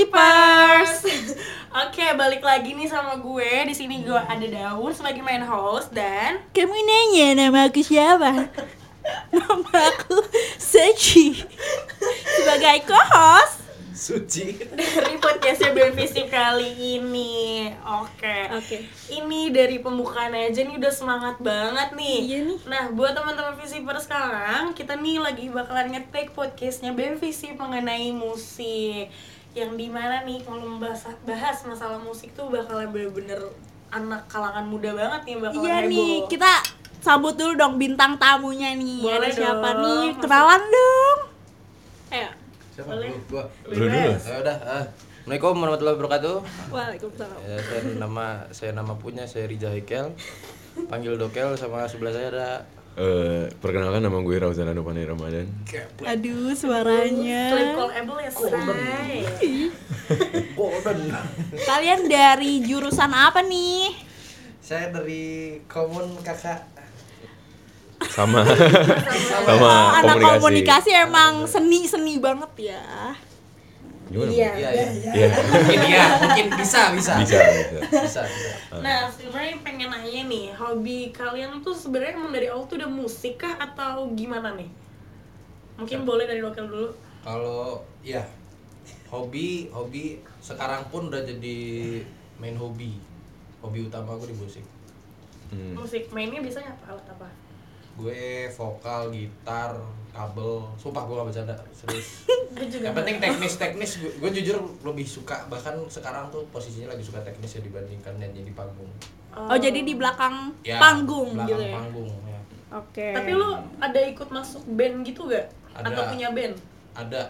Keepers. Oke, balik lagi nih sama gue. Di sini gue ada Daun sebagai main host dan Hmm. Kamu nanya nama aku siapa? nama aku Sechi Sebagai co-host Suci. dari podcastnya Benfisip kali ini. Oke. Oke. Ini dari pembukaan aja nih udah semangat banget nih. Iya nih. Nah, buat teman-teman Visiper sekarang, kita nih lagi bakalan ngetek podcastnya Benfisip mengenai musik. Yang dimana nih kalau membahas bahas masalah musik tuh bakalan bener-bener anak kalangan muda banget nih bakalan Iya heboh. nih, kita sambut dulu dong bintang tamunya nih Boleh Ada siapa dong, nih? masuk. Kenalan dong Ayo Siapa? Boleh. Gua- Gua. Lu Iya. dulu. Ya udah. ah. Assalamualaikum warahmatullahi wabarakatuh. Waalaikumsalam Ya, saya nama saya nama punya saya Rija Hekel. Panggil Dokel sama sebelah saya ada Eh, perkenalkan nama gue Rauzan Adopane Ramadan. Aduh suaranya Clip callable ya, say. Gordon. Kalian dari jurusan apa nih? saya dari Komun Kakak. Sama Oh, sama anak komunikasi. komunikasi emang seni-seni banget ya Gimana? Iya. Iya, iya. Iya. Mungkin iya, mungkin bisa, bisa. Bisa, bisa. Bisa. bisa. Nah, sebenarnya pengen nanya nih, hobi kalian tuh sebenarnya emang dari awal tuh udah musik kah atau gimana nih? Ya. Mungkin boleh dari lokal dulu. Kalau ya hobi hobi sekarang pun udah jadi main hobi. Hobi utama gue di musik. Hmm. Musik mainnya biasanya apa? Alat apa? Gue vokal, gitar, kabel. Sumpah gue gak bercanda, serius. Gue juga. Yang penting teknis-teknis gue, gue jujur lebih suka bahkan sekarang tuh posisinya lebih suka teknis ya dibandingkan nyanyi di panggung. Oh, jadi di belakang Ya, panggung belakang gitu ya? Panggung ya. Oke Tapi lu ada ikut masuk band gitu gak? Ada. Atau punya band? Ada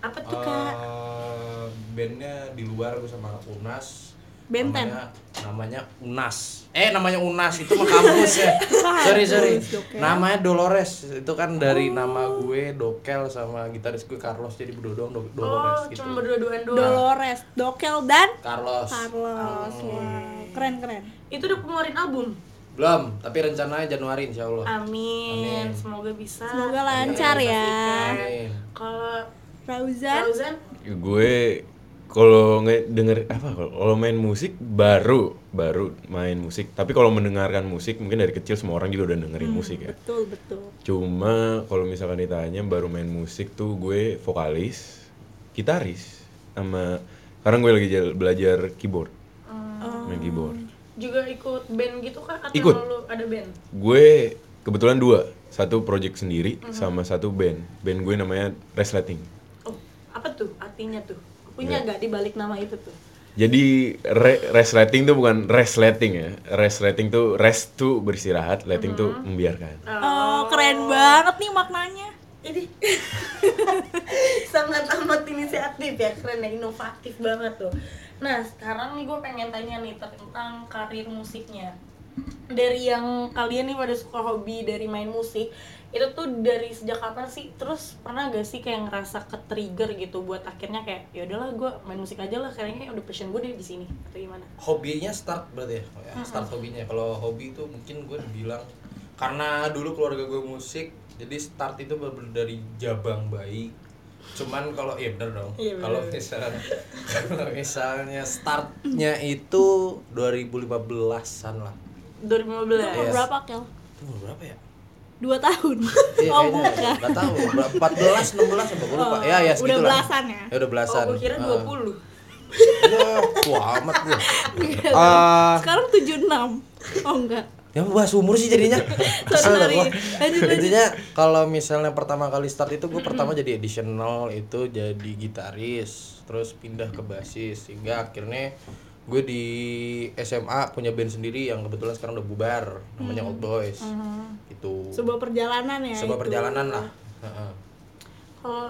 Apa tuh, Kak? eh bandnya di luar gue sama anak Unas. Benten. Namanya, namanya Unas. Eh namanya Unas itu mah kampus ya. sorry sorry. Kampus, Oh. Dokel. Namanya Dolores itu kan dari nama gue Dokel sama gitaris gue Carlos jadi berdodong Do- Oh, Dolores gitu. cuma berdua-duaan doang. Dolores, Dokel dan Carlos. Carlos. Wah, keren keren. Itu udah pengeluarin album? Belum, tapi rencananya Januari insya Allah. Amin. Amin. Semoga bisa. Semoga lancar iya, ya. Amin. Kalau Rauzan, Fauzan Gue kalau ngedenger apa kalau- kalau main musik baru baru main musik. Tapi kalau mendengarkan musik mungkin dari kecil semua orang juga udah dengerin musik ya. betul betul. Cuma kalau misalkan ditanya baru main musik tuh gue vokalis, gitaris sama sekarang gue lagi jel- belajar keyboard. Main keyboard. juga ikut band gitu kah atau Ikut. lu ada band? Gue kebetulan dua, satu project sendiri sama satu band. Band gue namanya Resleting. Oh, apa tuh artinya tuh? Punya nggak di balik nama itu tuh? Jadi re resleting tuh bukan resleting ya. Resleting tuh rest tuh beristirahat, letting tuh membiarkan. Oh, keren banget nih maknanya. Ini sangat amat inisiatif ya, keren ya, inovatif banget tuh. Nah, sekarang nih gue pengen tanya nih tentang karir musiknya. Dari yang kalian nih pada suka hobi dari main musik, itu tuh dari sejak kapan sih? Terus pernah gak sih kayak ngerasa ke trigger gitu buat akhirnya kayak ya udahlah gue main musik aja lah kayaknya udah passion gue deh di sini atau gimana? Hobinya start berarti ya, Ya, start hobinya. Kalau hobi itu mungkin gue dibilang karena dulu keluarga gue musik, jadi start itu bener dari jabang bayi. Cuman kalau ya bener dong. Iya, bener. kalau misalnya kalau misalnya startnya itu 2015-an lah. 2015. Yes. Berapa kel? Itu umur berapa ya? Dua tahun. Iya, oh kayaknya. bukan. Nggak tahu, berapa? 14, 16 apa gue lupa. ya, ya udah segitulah. belasan ya? Ya udah belasan. Oh, gue kira Ah. 20. Ya, tua amat gue. Ah. Sekarang 76 Oh enggak. Ya bahas umur sih jadinya. Kesel dah Sorry, gua. lanjut, lanjut. Intinya kalau misalnya pertama kali start itu gue pertama jadi additional itu jadi gitaris, terus pindah ke basis sehingga akhirnya gue di SMA punya band sendiri yang kebetulan sekarang udah bubar namanya Old Boys. Itu Mm. Mm-hmm. Sebuah perjalanan ya. sebuah itu. perjalanan lah. Heeh. Kalau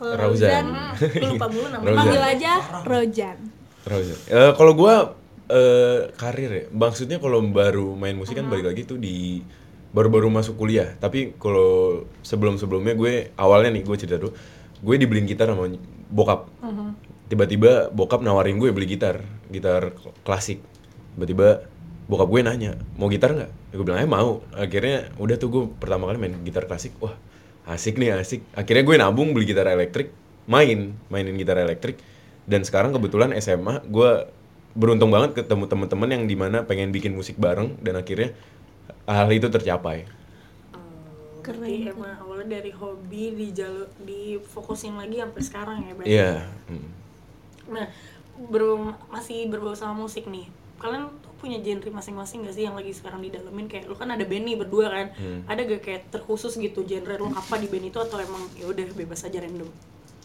Kalau Rauzan, Rauzan. lu Eh, lupa mulu namanya. Rauzan. panggil aja Rojan. Terus. Eh, kalau gua eh, karir ya, maksudnya kalau baru main musik kan balik lagi tuh di baru-baru masuk kuliah. Tapi kalau sebelum-sebelumnya gue awalnya nih gue cerita dulu, gue dibeliin gitar sama bokap. Tiba-tiba bokap nawarin gue beli gitar, gitar klasik. Tiba-tiba bokap gue nanya mau gitar nggak? Ya gue bilang "Eh, mau. Akhirnya udah tuh gue pertama kali main gitar klasik, wah asik nih asik. Akhirnya gue nabung beli gitar elektrik, main mainin gitar elektrik dan sekarang kebetulan SMA gue beruntung banget ketemu temen-temen yang dimana pengen bikin musik bareng dan akhirnya hal itu tercapai Keren. Iya, emang awalnya dari hobi di jalur difokusin lagi sampai sekarang ya berarti. iya Hmm. Nah, ber- masih berbau sama musik nih. Kalian tuh punya genre masing-masing gak sih yang lagi sekarang didalemin kayak lu kan ada band nih berdua kan. Ada gak kayak terkhusus gitu genre lu apa di band itu atau emang ya udah bebas aja random.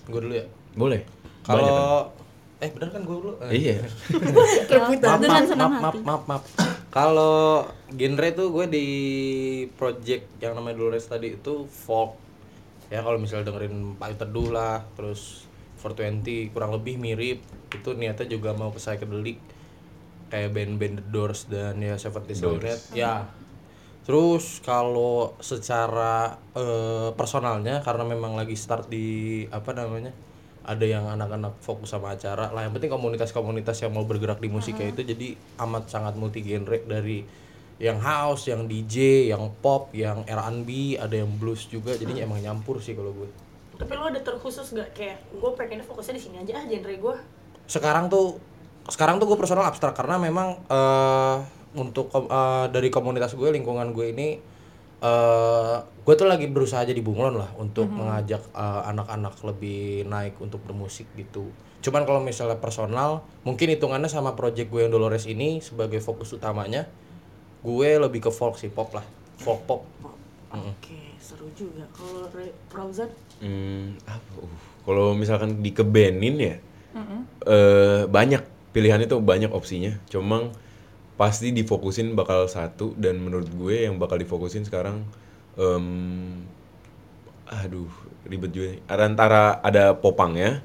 Gue dulu ya. boleh Kalau eh bener kan gue dulu. Eh. iya Maaf, Dengan maaf, senang maaf, maaf, hati. maaf, maaf. Kalau genre tuh gue di project yang namanya Dolores tadi itu folk. Ya kalau misalnya dengerin Pak Teduh lah, terus 420 kurang lebih mirip. Itu niatnya juga mau ke psychedelic kayak band-band The Doors dan ya Seventies Magnet. Ya. Terus kalau secara eh, personalnya karena memang lagi start di apa namanya? Ada yang anak-anak fokus sama acara lah. Yang penting komunitas-komunitas yang mau bergerak di musik kayak itu jadi amat sangat multi genre dari yang house, yang DJ, yang pop, yang R&B, ada yang blues juga. Jadinya emang nyampur sih kalau gue. Tapi lu ada terkhusus gak kayak gue pengennya fokusnya di sini aja ah genre gue. sekarang tuh sekarang tuh gue personal abstrak karena memang eh untuk kom- eh, dari komunitas gue lingkungan gue ini eh gue tuh lagi berusaha jadi bunglon lah untuk mengajak eh, anak-anak lebih naik untuk bermusik gitu cuman kalau misalnya personal mungkin hitungannya sama project gue yang Dolores ini sebagai fokus utamanya gue lebih ke folk sih pop lah folk pop Oke, seru juga kalau Re- Fauzan Hmm, apa? Uh, Kalau misalkan di kebenin ya, eh, banyak pilihan itu banyak opsinya. Cuma pasti difokusin bakal satu dan menurut gue yang bakal difokusin sekarang, em, aduh ribet juga. nih. Ada Antara ada popangnya,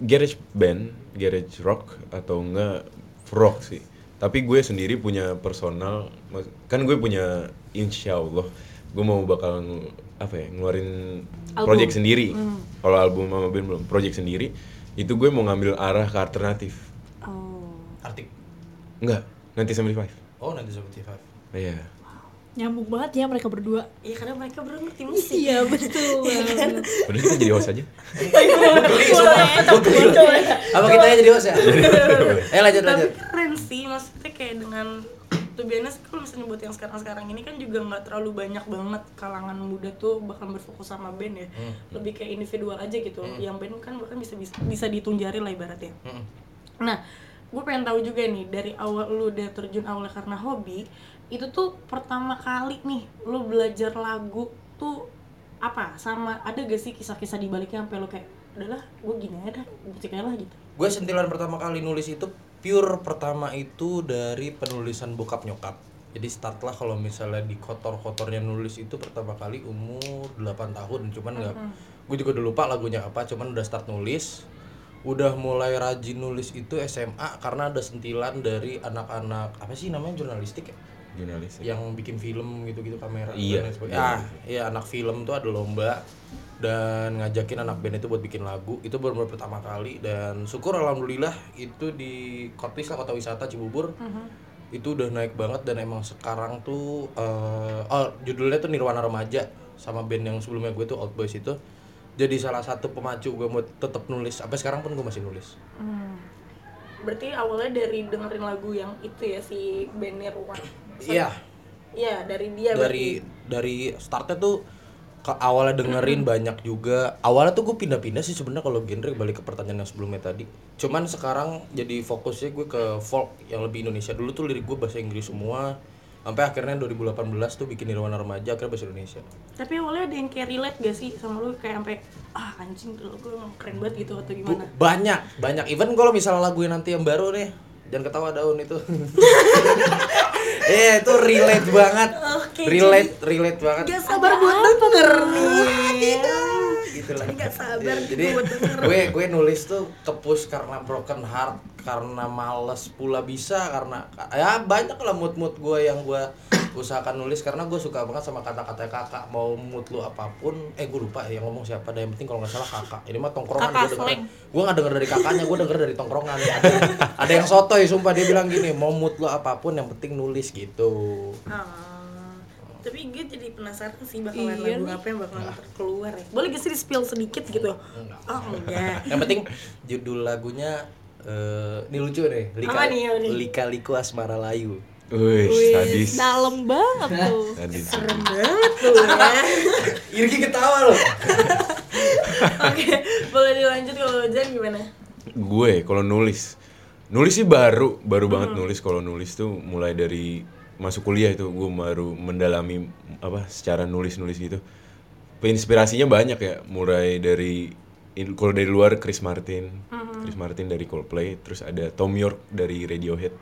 garage band, garage rock atau enggak rock sih. Tapi gue sendiri punya personal, mas- kan gue punya insya Allah gue mau bakal ng- apa ya ngeluarin project sendiri. Kalau album Mama Band belum, project sendiri itu gue mau ngambil arah ke alternatif. artik Enggak, nanti 75. oh nanti seperti Iya. Nyambung banget ya mereka berdua. Iya karena mereka baru ngerti musik. Iya betul. Padahal kita jadi host aja. apa kita aja jadi host ya eh lanjut tapi lanjut keren sih maksudnya kayak dengan tuh biasanya kalau misalnya buat yang sekarang-sekarang ini kan juga nggak terlalu banyak banget kalangan muda tuh bahkan berfokus sama band ya lebih kayak individual aja gitu yang band kan bahkan bisa bisa, bisa ditunjari lah ibaratnya Mm-mm. nah gue pengen tahu juga nih dari awal lu udah terjun awalnya karena hobi itu tuh pertama kali nih lu belajar lagu tuh apa sama ada gak sih kisah-kisah di baliknya sampai lu kayak udahlah gue gini aja dah musik aja lah gitu gue sentilan pertama kali nulis itu pure pertama itu dari penulisan bokap nyokap jadi start lah kalau misalnya di kotor-kotornya nulis itu pertama kali umur 8 tahun cuman nggak gue juga udah lupa lagunya apa cuman udah start nulis udah mulai rajin nulis itu SMA karena ada sentilan dari anak-anak apa sih namanya jurnalistik ya Jurnalis. yang bikin film gitu-gitu kamera Iya. dan lain sebagainya. Ah, iya anak film tuh ada lomba dan ngajakin anak band itu buat bikin lagu itu baru pertama kali dan syukur alhamdulillah itu di Kotwis lah kota wisata Cibubur itu udah naik banget dan emang sekarang tuh eh oh, judulnya tuh Nirwana Remaja sama band yang sebelumnya gue tuh Old Boys itu jadi salah satu pemacu gue mau tetap nulis sampai sekarang pun gue masih nulis Berarti awalnya dari dengerin lagu yang itu ya si Benny Ruan. iya Iya, dari dia dari dari startnya tuh ke awalnya dengerin banyak juga awalnya tuh gue pindah-pindah sih sebenarnya kalau genre balik ke pertanyaan yang sebelumnya tadi cuman sekarang jadi fokusnya gue ke folk yang lebih Indonesia dulu tuh lirik gue bahasa Inggris semua sampai akhirnya 2018 tuh bikin Nirwana Remaja akhirnya bahasa Indonesia berarti. Tapi awalnya ada yang kayak relate gak sih sama lu kayak sampai ah anjing dulu gue emang keren banget gitu atau Bu- gimana? banyak banyak even kalau misalnya lagu yang nanti yang baru nih jangan ketawa daun itu eh itu relate banget Oke, relate relate banget Gak sabar buat denger gitu lah. jadi gue gue nulis tuh kepus karena broken heart karena males pula bisa karena ya banyak lah mood mood gue yang gue usahakan nulis karena gue suka banget sama kata-kata kakak mau mood lu apapun eh gue lupa yang ngomong siapa dah yang penting kalau nggak salah kakak ini mah tongkrongan gue denger gue nggak denger dari kakaknya gue denger dari tongkrongan ada, ada yang sotoy sumpah dia bilang gini mau mood lu apapun yang penting nulis gitu Ah, tapi gue jadi penasaran sih bakalan Iya lagu nih. apa yang bakalan terkeluar ya boleh gak sih di spill sedikit gitu Enggak. oh enggak Yang penting judul lagunya eh ini lucu deh. Lika, Apa nih, apa nih? Lika Liku Asmara Layu. Wih, sadis. Dalam banget tuh. Sadis. serem banget tuh ya Irgi ketawa loh. oke boleh dilanjut kalau Jan gimana Gue kalau nulis. Nulis sih baru, baru banget nulis kalau nulis tuh mulai dari masuk kuliah itu gue baru mendalami apa secara nulis-nulis gitu. Inspirasinya banyak ya, mulai dari in- kalau dari luar Chris Martin, Chris Martin dari Coldplay, terus ada Tom York dari Radiohead.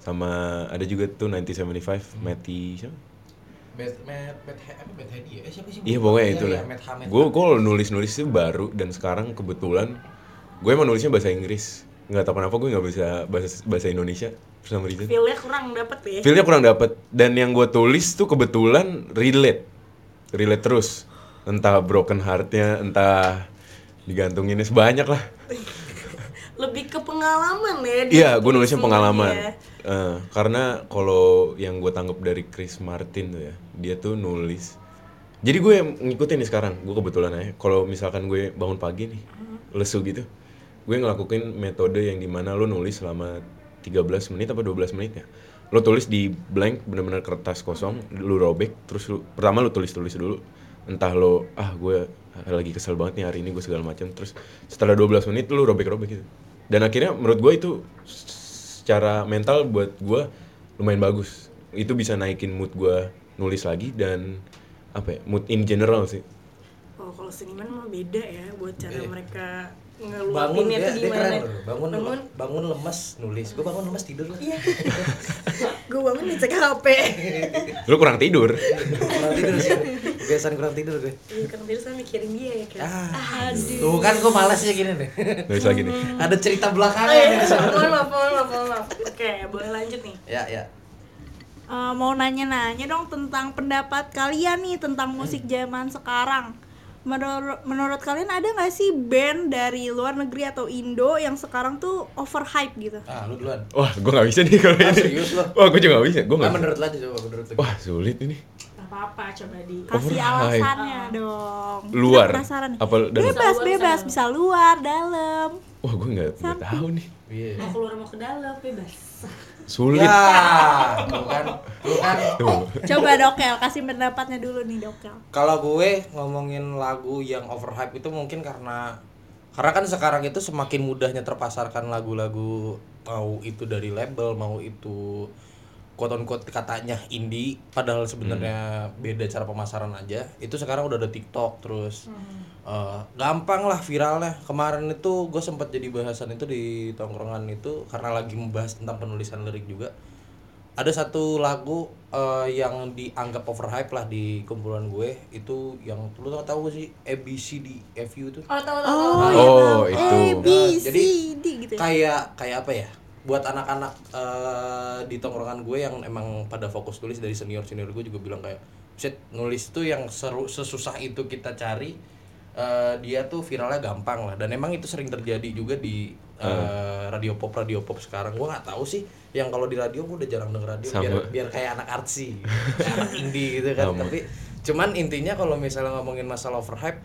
Sama ada juga tuh 1975 Matty siapa? Bad Mad Mad apa Mad Hedy ya? Eh, siapa sih? Iya pokoknya Iya, itu lah. iya, Mad Hamed. Gue gue nulis nulis itu baru dan sekarang kebetulan gue emang nulisnya bahasa Inggris. Nggak tahu kenapa gue nggak bisa bahasa bahasa Indonesia for some reason. feelnya kurang dapet ya Feelnya kurang dapet dan yang gue tulis tuh kebetulan relate, relate terus. Entah broken heartnya, entah digantunginnya sebanyak lah. lebih ke pengalaman ya di ya. Iya, gue situ nulisnya semuanya. pengalaman. Eh, karena kalau yang gue tanggap dari Chris Martin tuh ya, dia tuh nulis. Jadi gue yang ngikutin nih sekarang, gue kebetulan aja. Kalau misalkan gue bangun pagi nih, lesu gitu, gue ngelakuin metode yang dimana lo nulis selama 13 menit apa 12 menit ya. Lo tulis di blank, bener-bener kertas kosong, lo robek, terus lo, pertama lo tulis-tulis dulu. Entah lo, ah gue lagi kesel banget nih hari ini gue segala macam terus setelah 12 menit lo robek-robek gitu dan akhirnya menurut gue itu secara mental buat gue lumayan bagus itu bisa naikin mood gue nulis lagi dan apa ya mood in general sih oh kalau seniman mah beda ya buat cara Beda. mereka Iya. bangun ngeluapinnya dia, tuh dia gimana keren loh. Bangun, bangun, bangun lemes nulis. Gue bangun lemes tidur lah. Iya. gue bangun ngecek HP lu kurang tidur kurang tidur sih. Kebiasaan kurang tidur gue. Iya, kan tadi saya mikirin dia ya kan Ah, tuh kan gue malas ya gini deh. nulis lagi nih Ada cerita Oh belakangan iya, ya. mohon maaf, mohon maaf, mohon maaf. Oke, boleh lanjut nih. Ya ya. Eh, mau nanya-nanya dong tentang pendapat kalian nih tentang musik zaman sekarang. Menurut menurut kalian ada nggak sih band dari luar negeri atau Indo yang sekarang tuh overhype gitu? Ah lu duluan. wah gue nggak bisa nih kalau Ah, ini serius lo? wah gue juga nggak bisa gue Ah, nggak bisa. menurut lu aja coba menurut lu. wah sulit ini Gak apa-apa, coba di Kasih Overhype. alasannya dong. luar Kita penasaran nih. Iya. apa dalam Bebas, luar, bisa bebas, dalam. bisa luar, dalam. wah gue nggak nggak tahu nih Iya. mau keluar mau ke dalam bebas. sulit Ya, lu kan, lu kan. Tuh. Coba Dokel kasih pendapatnya dulu nih Dokel. Kalau gue ngomongin lagu yang overhype itu mungkin karena karena kan sekarang itu semakin mudahnya terpasarkan lagu-lagu mau itu dari label mau itu quote unquote katanya indie padahal sebenarnya beda cara pemasaran aja itu sekarang udah ada TikTok terus eh, gampang lah viralnya kemarin itu gue sempat jadi bahasan itu di tongkrongan itu karena lagi membahas tentang penulisan lirik juga ada satu lagu eh, yang dianggap overhype lah di kumpulan gue itu yang lu tau tahu sih ABCDFU itu Oh, tahu tahu. Oh, iya, Oh, ya, itu. A, B, C, Nah, Jadi, D gitu ya. kayak kayak apa ya buat anak-anak eh, di tongkrongan gue yang emang pada fokus tulis dari senior senior gue juga bilang kayak set nulis tuh yang seru sesusah itu kita cari eh, dia tuh viralnya gampang lah dan emang itu sering terjadi juga di eh, radio pop radio pop sekarang gue nggak tahu sih yang kalau di radio gue udah jarang denger radio biar Sama. biar kayak anak artsy kayak anak indie gitu kan Sama. tapi cuman intinya kalau misalnya ngomongin masalah overhype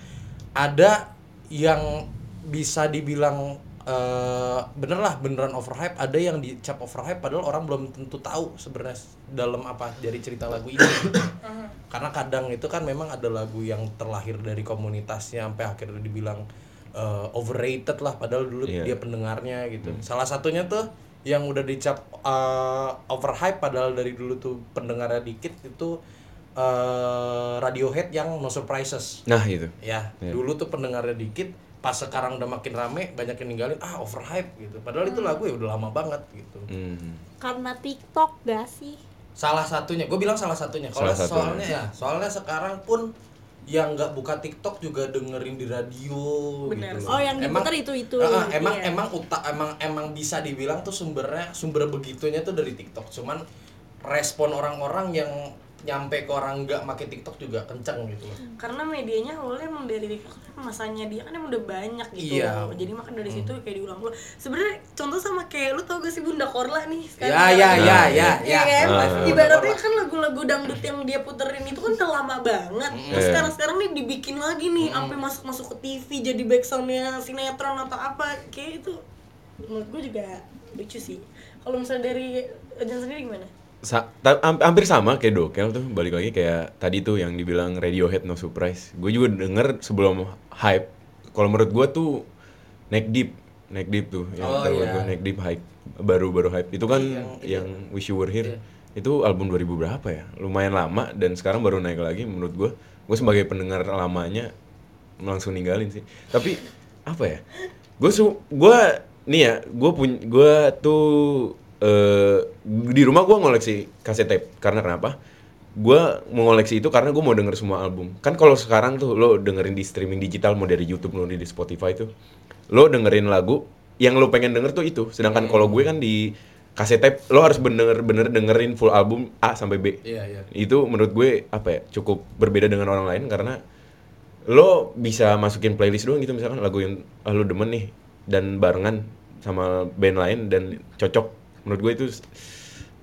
ada yang bisa dibilang eh, bener lah beneran overhype ada yang dicap overhype padahal orang belum tentu tahu sebenarnya dalam apa dari cerita lagu ini karena kadang itu kan memang ada lagu yang terlahir dari komunitasnya sampai akhirnya dibilang eh, overrated lah padahal dulu Iya. dia pendengarnya gitu Hmm. salah satunya tuh yang udah dicap eh, overhype padahal dari dulu tuh pendengarnya dikit itu eh, Radiohead yang No Surprises nah itu ya dulu tuh pendengarnya dikit pas sekarang udah makin rame banyak yang ninggalin ah overhype gitu padahal itu Hmm. lagu ya udah lama banget gitu Hmm. Karena TikTok gak sih? salah satunya gue bilang salah satunya kalau Salah satunya. soalnya ya soalnya sekarang pun yang nggak buka TikTok juga dengerin di radio Bener. Iya. gitu loh. Oh, yang Emang- diputar itu-itu. Eh, eh, emang Iya. emang uta emang emang bisa dibilang tuh sumbernya sumber begitunya tuh dari TikTok cuman respon orang-orang yang nyampe ke orang nggak pakai TikTok juga kenceng gitu loh. Hmm. karena medianya awalnya emang dari TikTok kan masanya dia kan emang udah banyak gitu Iya. jadi makan dari situ kayak diulang-ulang sebenarnya contoh sama kayak lu tau gak sih Bunda Korla nih Ya ya ya ya ya. Iya kan? Live-nya Ibaratnya udah kan lagu-lagu dangdut yang dia puterin itu kan udah lama banget. Hmm. Nah, Iya. sekarang-sekarang nih dibikin lagi nih, sampai masuk-masuk ke TV jadi backsoundnya sinetron atau apa, kayak itu menurut gue juga lucu sih. Kalau misalnya dari Jan sendiri gimana? Sa- ta- hamp- hampir sama kayak Dokel tuh balik lagi kayak tadi tuh yang dibilang Radiohead No Surprise. Gue juga denger sebelum hype. Kalau menurut gue tuh Neck Deep, Neck Deep tuh yang Oh, terbaru iya. gua, Neck Deep hype baru-baru hype. Itu kan Yang- yang Wish You Were Here. Itu album 2000 berapa ya? Lumayan lama dan sekarang baru naik lagi menurut gue. Gue sebagai pendengar lamanya langsung ninggalin sih. Tapi apa ya? Gue su gue nih ya, gue punya gue tuh eh di rumah gue ngoleksi kaset tape karena kenapa? Gue mengoleksi itu karena gue mau denger semua album. Kan kalau sekarang tuh lo dengerin di streaming digital mau dari YouTube mau dari Spotify tuh, lo dengerin lagu yang lo pengen denger tuh itu. Sedangkan kalau gue kan di kaset tape lo harus bener-bener dengerin full album A sampai B Iya iya. itu menurut gue apa ya cukup berbeda dengan orang lain karena lo bisa masukin playlist doang gitu misalkan lagu yang ah, lo demen nih dan barengan sama band lain dan cocok menurut gue itu s-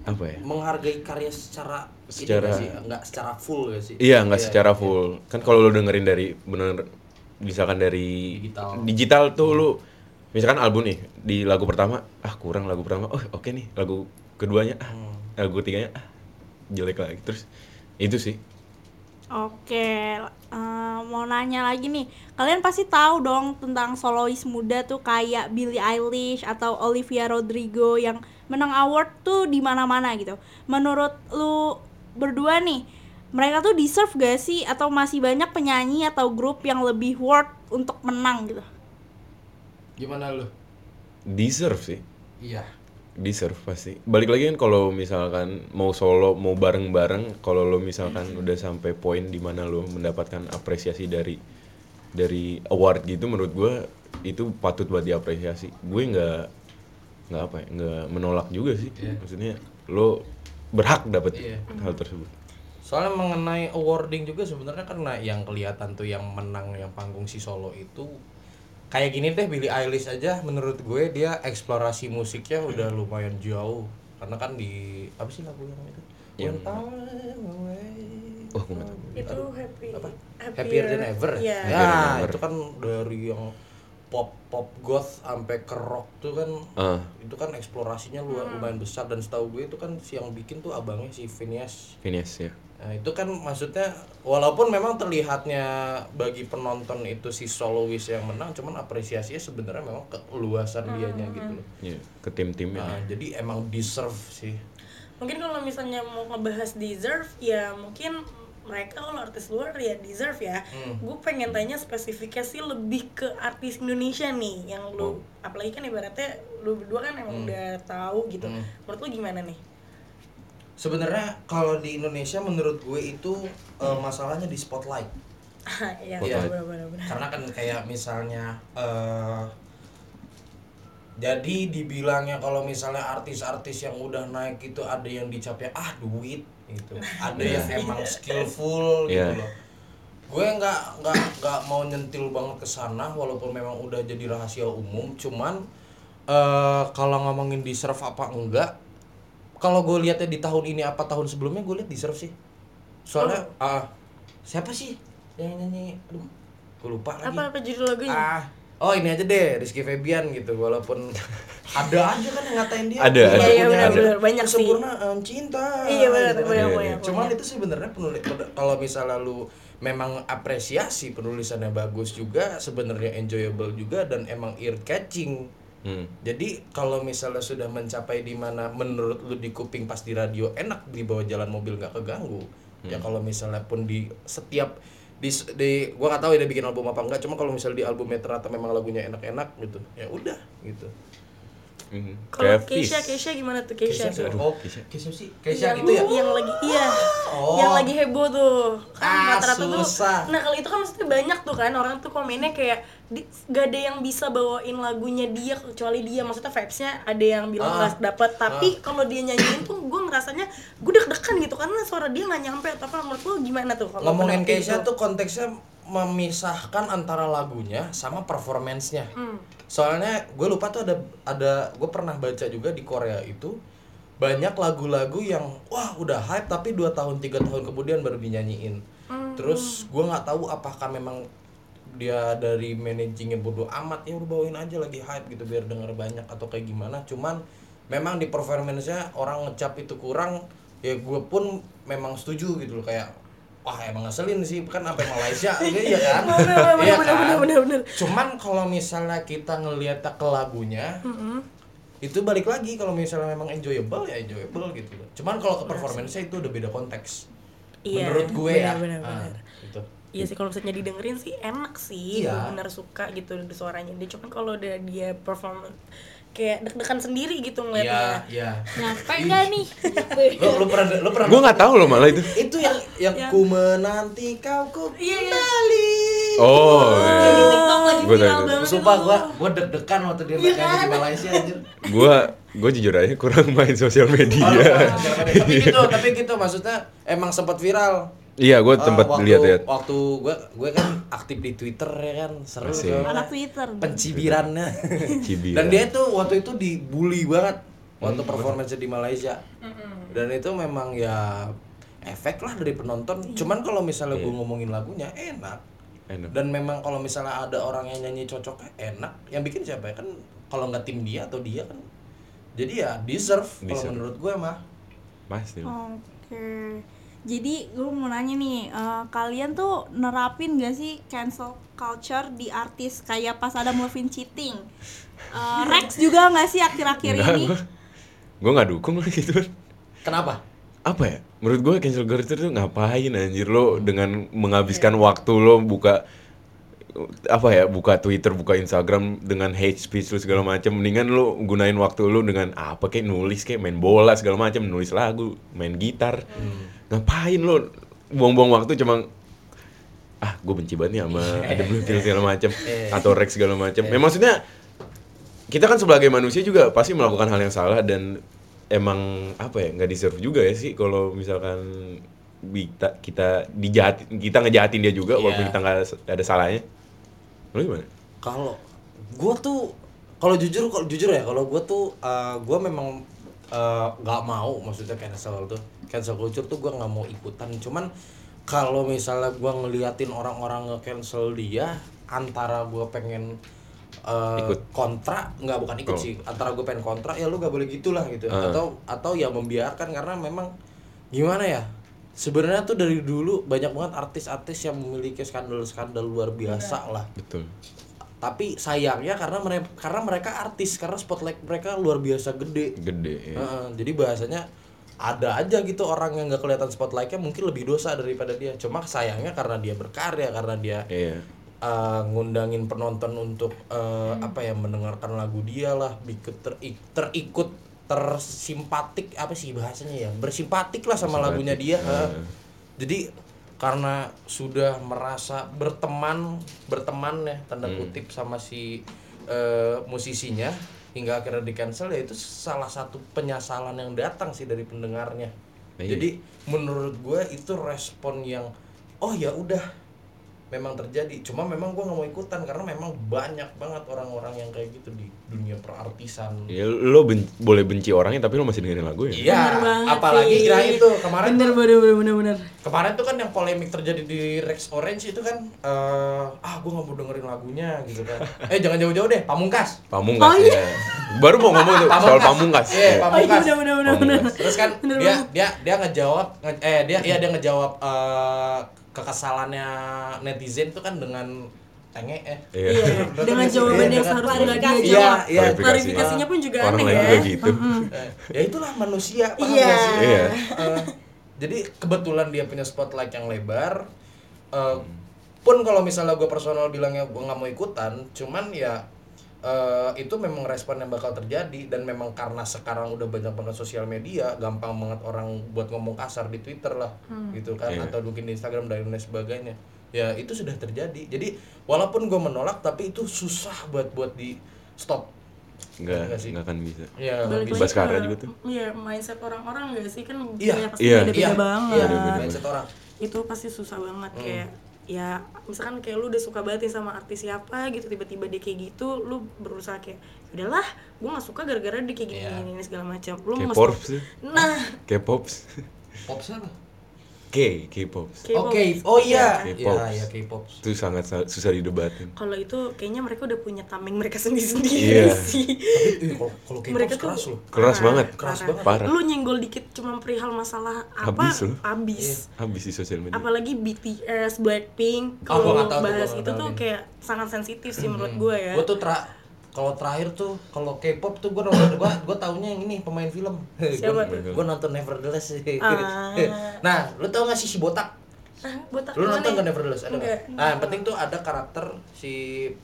apa ya Menghargai karya secara ini Secara- nggak sih? nggak secara full gak sih? iya nggak secara full kan kalau lo dengerin dari bener misalkan dari Digital. digital tuh lo misalkan album nih di lagu pertama ah kurang lagu pertama oh oke nih lagu keduanya ah Hmm. lagu ketiganya ah jelek lagi terus itu sih Oke, eh, mau nanya lagi nih. Kalian pasti tahu dong tentang solois muda tuh kayak Billie Eilish atau Olivia Rodrigo yang menang award tuh di mana-mana gitu. Menurut lu berdua nih, mereka tuh deserve gak sih atau masih banyak penyanyi atau grup yang lebih worth untuk menang gitu? Gimana lu? deserve sih Iya. deserve pasti balik lagi kan kalau misalkan mau solo mau bareng bareng kalau lo misalkan udah sampai poin di mana lo mendapatkan apresiasi dari dari award gitu menurut gue itu patut buat diapresiasi gue nggak nggak apa ya nggak menolak juga sih maksudnya lo berhak dapat Iya. hal tersebut Soalnya mengenai awarding juga sebenarnya karena yang kelihatan tuh yang menang yang panggung si solo itu kayak gini deh Billie Eilish aja menurut gue dia eksplorasi musiknya udah Hmm. lumayan jauh karena kan di apa sih lagu yang itu yang wah gue Oh, nggak Itu tahu happy Happier Than Ever Iya. ya, Happier Than Ever. itu kan dari yang pop pop goth sampai ke rock tuh kan ah itu kan eksplorasinya lu- lumayan besar dan setahu gue itu kan si yang bikin tuh abangnya si Phineas Phineas ya Nah, itu kan maksudnya walaupun memang terlihatnya bagi penonton itu si solois yang menang, cuman apresiasinya sebenarnya memang keluasan dianya gitu loh. Iya, ke tim timnya Nah, jadi emang deserve sih. Mungkin kalau misalnya mau ngebahas deserve, ya mungkin mereka kalau artis luar ya deserve ya. Gue pengen tanya spesifiknya sih lebih ke artis Indonesia nih, yang lu apalagi kan ibaratnya lu berdua kan emang udah tahu gitu. Menurut lu gimana nih? Sebenarnya kalau di Indonesia menurut gue itu eh, masalahnya di spotlight. Iya, Iya. benar-benar. Karena kan kayak misalnya eh jadi dibilangnya kalau misalnya artis-artis yang udah naik itu ada yang dicapai ah duit gitu. Ada yang emang skillful gitu Iya. loh. Gue nggak nggak nggak mau nyentil banget ke sana walaupun memang udah jadi rahasia umum, cuman eh kalau ngomongin deserve apa enggak kalau gue lihatnya di tahun ini apa tahun sebelumnya gue lihat deserve sih soalnya ah, siapa sih yang nyanyi aduh gue lupa lagi Apa apa judul lagunya? ah oh ini aja deh Rizky Febian gitu walaupun ada aja kan yang ngatain dia Ada, "Aku ada. punya Iya, iya, aja benar-benar. Banyak sih. kesempurnaan cinta Iya, benar, gitu kan. banyak, Iya, banyak, iya. cuman itu sebenarnya penulis pada- kalau misalnya lu memang apresiasi penulisannya bagus juga sebenarnya enjoyable juga dan emang ear catching Hmm. jadi kalau misalnya sudah mencapai di mana menurut lu di kuping pas di radio enak di bawah jalan mobil nggak keganggu. Ya Hmm. kalau misalnya pun di setiap di, di gua nggak tahu ya dia bikin album apa enggak, cuma kalau misalnya di albumnya ternyata memang lagunya enak-enak gitu. Ya udah gitu. Mhm. Kalau Kayak Fis. Keisha, Keisha gimana tuh Keisha? sih. tuh? Oh, Keisha. Keisha sih. Keisha yang, itu ya. yang lagi iya Oh. yang lagi heboh tuh kan Ah, rata-rata tuh susah. nah kalau itu kan maksudnya banyak tuh kan orang tuh komennya kayak di- gak ada yang bisa bawain lagunya dia kecuali dia maksudnya vibesnya ada yang bilang Ah. nggak dapet tapi kalau dia nyanyiin tuh gue ngerasanya gue deg-degan gitu karena suara dia nggak nyampe atau apa menurut lo gimana tuh kalau ngomongin pendapat Keisha itu? tuh konteksnya memisahkan antara lagunya sama performance-nya. Hmm. Soalnya gue lupa tuh ada ada gue pernah baca juga di Korea itu banyak lagu-lagu yang wah udah hype tapi dua tahun tiga tahun kemudian baru dinyanyiin. Hmm. Terus gue nggak tahu apakah memang dia dari managingnya bodo amat ya udah bawain aja lagi hype gitu biar denger banyak atau kayak gimana. Cuman memang di performance-nya orang ngecap itu kurang ya gue pun memang setuju gitu loh kayak wah emang ngeselin sih kan sampai Malaysia iya kan Bener, bener, Iya bener, kan? bener, bener, bener. cuman kalau misalnya kita ngelihat ke lagunya itu balik lagi kalau misalnya memang enjoyable ya enjoyable gitu loh cuman kalau ke performance-nya itu udah beda konteks Iya, menurut gue ya bener, bener, Ah, bener. gitu. Iya sih kalau misalnya didengerin sih enak sih, Iya. Gua bener suka gitu suaranya dia. Cuman kalau udah dia perform kayak deg-degan sendiri gitu iya ngeliatnya. iya nyampe nggak nih Gitu. lu, lu pernah lu pernah Gue nggak tahu loh malah itu. itu yang yang ku menanti kau ku Iya, iya. kembali Oh, Di iya. TikTok lagi Gua tahu, viral gua tahu. banget sumpah itu. gua gua deg-degan waktu dia nyanyi di Malaysia anjir Iya. gua gue jujur aja kurang main sosial media. tapi gitu tapi gitu maksudnya emang sempat viral Iya, gue Eh, tempat waktu- lihat-lihat. waktu gue gue kan aktif di Twitter ya kan seru Asik. soalnya. anak Twitter pencibirannya Cibiran. Hmm. dan dia tuh waktu itu dibully banget waktu performance di Malaysia dan itu memang ya efek lah dari penonton cuman kalau misalnya gue ngomongin lagunya enak Iya. Enak. dan memang kalau misalnya ada orang yang nyanyi cocoknya enak yang bikin siapa ya kan kalau nggak tim dia atau dia kan jadi ya deserve kalau Deserve. menurut gue mah Pasti. lah. Oke. Jadi gue mau nanya nih, eh, kalian tuh nerapin gak sih cancel culture di artis kayak pas ada Movin cheating? Eh, Rex juga gak sih akhir-akhir Enggak, ini? gue gue nggak dukung lah gitu. kenapa Apa ya? Menurut gue cancel culture tuh ngapain anjir lo dengan menghabiskan waktu lo buka apa ya buka Twitter buka Instagram dengan hate speech lu segala macam mendingan lu gunain waktu lu dengan "Ah, apa kayak nulis kayak main bola segala macam nulis lagu main gitar ngapain lu buang-buang waktu cuma ah gue benci banget nih sama ada blue pill segala macam atau rex segala macam ya maksudnya kita kan sebagai manusia juga pasti melakukan hal yang salah dan emang apa ya nggak deserve juga ya sih kalau misalkan kita kita dijahat kita ngejahatin dia juga walaupun Iya. kita nggak s- ada salahnya lu gimana kalau gua tuh kalau jujur kalau jujur ya kalau gua tuh eh, gua memang eh, nggak mau maksudnya cancel tuh cancel culture tuh gua nggak mau ikutan cuman kalau misalnya gua ngeliatin orang-orang nge-cancel dia antara gua pengen eh, Ikut. kontra nggak bukan ikut Oh. sih antara gue pengen kontra ya lu nggak boleh gitulah gitu atau atau ya membiarkan karena memang gimana ya sebenarnya tuh dari dulu banyak banget artis-artis yang memiliki skandal-skandal luar biasa lah betul tapi sayangnya karena mereka karena mereka artis karena spotlight mereka luar biasa gede gede ya. Heeh, jadi bahasanya ada aja gitu orang yang nggak kelihatan spotlightnya mungkin lebih dosa daripada dia cuma sayangnya karena dia berkarya karena dia iya eh, ngundangin penonton untuk eh, apa ya mendengarkan lagu dia lah bikin terik- terikut tersimpatik apa sih bahasanya ya bersimpatik lah sama lagunya dia eh. jadi karena sudah merasa berteman berteman ya tanda kutip sama si eh, musisinya hingga akhirnya di cancel ya itu salah satu penyesalan yang datang sih dari pendengarnya Iya. jadi menurut gue itu respon yang oh ya udah memang terjadi cuma memang gua nggak mau ikutan karena memang banyak banget orang-orang yang kayak gitu di dunia perartisan Ya, lo ben- boleh benci orangnya tapi lo masih dengerin lagu ya iya apalagi kira itu kemarin Bener bener bener bener bener. kemarin tuh kan yang polemik terjadi di Rex Orange itu kan eh, ah gua nggak mau dengerin lagunya gitu kan eh jangan jauh-jauh deh pamungkas pamungkas ya baru mau ngomong tuh soal pamungkas Iya, Ya. Oh iya pamungkas bener bener bener bener. Pamungkas. terus kan dia dia dia ngejawab nge- eh dia iya dia ngejawab eh, kekesalannya netizen tuh kan dengan tenge eh Iya. Iya, dengan jawaban yang seharusnya nggak dia Iya, jawab. iya. Klarifikasinya pun juga Orang aneh lain ya. juga gitu. Eh, ya itulah manusia paham Iya. gak sih? Iya. Eh, jadi kebetulan dia punya spotlight yang lebar Eh, pun kalau misalnya gue personal bilangnya gue nggak mau ikutan cuman ya eh, itu memang respon yang bakal terjadi dan memang karena sekarang udah banyak banget sosial media gampang banget orang buat ngomong kasar di twitter lah gitu kan Iya. atau mungkin di instagram dan lain sebagainya ya itu sudah terjadi jadi walaupun gue menolak tapi itu susah buat buat di stop nggak Nggak sih. nggak akan bisa ya Balik bisa. lagi Baskara ke- juga tuh. Iya, mindset orang-orang gak sih kan Iya, ya pasti iya, beda-beda iya, banget. iya, Hmm. mindset orang Itu pasti susah banget kayak ya misalkan kayak lu udah suka banget nih sama artis siapa gitu tiba-tiba dia kayak gitu lu berusaha kayak udahlah gue nggak suka gara-gara dia kayak gini Iya. gini, gini, segala macam lu nggak K-pop suka- sih nah K-pop pop apa K K-pop K-pop. kan? Oke, oh iya, K-pop. iya, iya K-pop. itu sangat sa- susah didebatin kalau itu kayaknya mereka udah punya tameng mereka sendiri-sendiri Iya. sih Tapi eh, kalau kalau K-pop mereka tuh keras loh. Keras parah, banget. Keras parah. banget. Parah. lu nyenggol dikit cuma perihal masalah apa Habis lu. habis. Iya. habis di sosial media apalagi BTS, Blackpink Ah, gua kalau nggak tahu tuh, gua bahas nggak itu tahu tuh nih. kayak sangat sensitif sih menurut gue ya Gue tuh tra kalau terakhir tuh kalau K-pop tuh gue nonton gue gue taunya yang ini pemain film. Siapa tuh? Gue nonton Nevertheless. Ah. nah, lu tau gak sih si botak? ah, botak Lu mana nih? nonton kan Nevertheless? Ada Enggak. nggak? Nah, yang penting tuh ada karakter si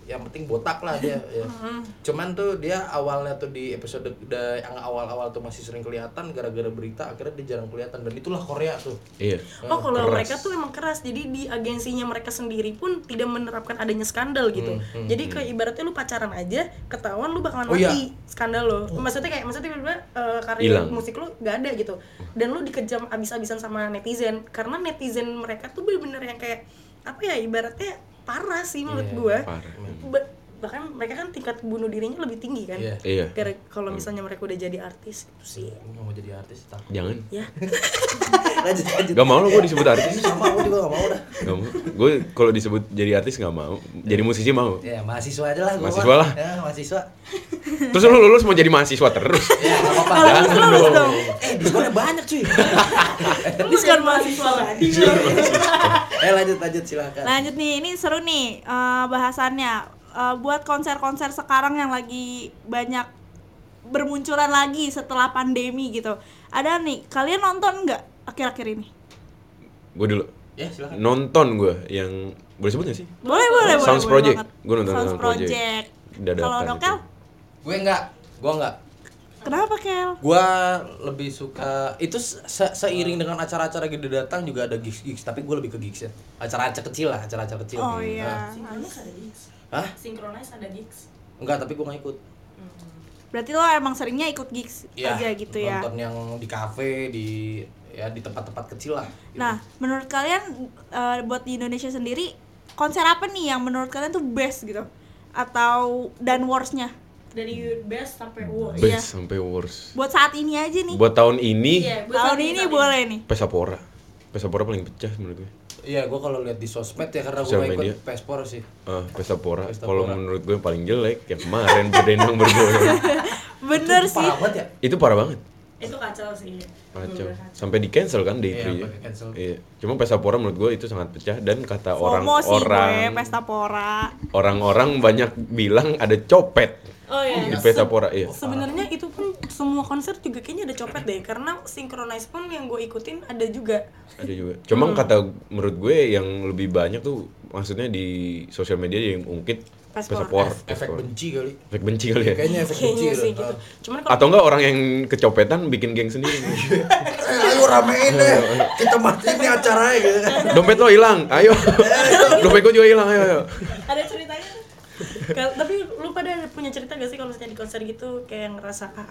yang penting botak lah dia. ya. Cuman tuh dia awalnya tuh di episode da- yang awal-awal tuh masih sering kelihatan gara-gara berita akhirnya dia jarang kelihatan dan itulah Korea tuh. iya Oh, kalau Keras. mereka tuh emang keras. Jadi di agensinya mereka sendiri pun tidak menerapkan adanya skandal gitu. Jadi kayak ibaratnya lu pacaran aja, ketahuan lu bakalan Mm, Oh, iya. mati skandal lo. Maksudnya kayak maksudnya tiba-tiba eh, karir Hilang. musik lu gak ada gitu. Dan lu dikejam abis-abisan sama netizen karena netizen mereka tuh bener-bener yang kayak apa ya ibaratnya parah sih menurut Iya, gua. parah Ba- bahkan mereka kan tingkat bunuh dirinya lebih tinggi kan. Iya. iya Gara kalau misalnya mereka udah jadi artis itu sih. Gue nggak mau jadi artis takut. jangan Ya. lanjut lanjut. Gak mau lo gue disebut artis Sama gue juga gak mau dah. Gak mau Gue kalau disebut jadi artis gak mau Jadi musisi mau Ya mahasiswa aja lah gua Mahasiswa mah. lah. Ya mahasiswa. Terus lu lulus mau jadi mahasiswa terus Ya enggak apa-apa. Jangan dong Iya, Eh, diskonnya banyak cuy. Lu kan mahasiswa lagi. eh lanjut lanjut silakan. Lanjut nih, ini seru nih eh, bahasannya. Eh, buat konser-konser sekarang yang lagi banyak bermunculan lagi setelah pandemi gitu. Ada nih, kalian nonton nggak akhir-akhir ini? Gue dulu Ya silakan. Nonton gue yang Boleh sebut gak sih? Boleh, boleh, boleh. Sounds boleh Project. banget. Gua nonton Sounds Sounds Project. Project. Dadakan Kalau itu. Dokel, Gue enggak. Gue enggak. kenapa Kel? Gue lebih suka itu se- seiring dengan acara-acara gede datang juga ada gigs gigs tapi gue lebih ke gigs ya acara-acara kecil lah acara-acara kecil Oh Hmm, iya. ah. Sinkronize ada gigs. Hah? Sinkronize ada gigs. enggak tapi gue nggak ikut Berarti lo emang seringnya ikut gigs Iya, aja gitu ya. nonton yang di kafe di ya di tempat-tempat kecil lah gitu. Nah, menurut kalian eh, buat di Indonesia sendiri konser apa nih yang menurut kalian tuh best gitu? Atau dan worstnya? Dari best sampai worst. Best sampai worst Buat saat ini aja nih. Buat tahun ini buat Tahun saat ini saat boleh nih. Pesapora Pesapora paling pecah menurut gue Iya, gue kalau lihat di sosmed ya karena gue Sosial nggak media. ikut Pespor sih. Ah, Pesapora, Pesta kalau Pora. menurut gue yang paling jelek yang kemarin berdenang bergoyang Bener Itu sih. Parah banget ya. itu parah banget Itu kacau sih. kacau sampai di cancel kan di Iya, itu sampai di-cancel. iya cuma Pesapora menurut gue itu sangat pecah dan kata FOMO sih gue, orang-orang pesta pora. orang-orang banyak bilang ada copet Oh iya. di Pesapora iya Sebenarnya itu pun semua konser juga kayaknya ada copet deh karena Synchronize pun yang gue ikutin ada juga. ada juga cuma kata menurut gue yang lebih banyak tuh maksudnya di sosial media yang ungkit Pesapora. Pesapora Efek Pesapora. benci kali. efek benci kali ya Kayaknya efek benci. Kayaknya sih gitu. gitu. Cuman kalau atau enggak orang yang kecopetan bikin geng sendiri Eh, ayo ramein deh. Kita matiin nih acaranya gitu kan. dompet lo hilang ayo dompet gue juga hilang ayo, ayo. ada ceritanya. Kal- tapi lu pada ada punya cerita gak sih kalau misalnya di konser gitu kayak ngerasa ah,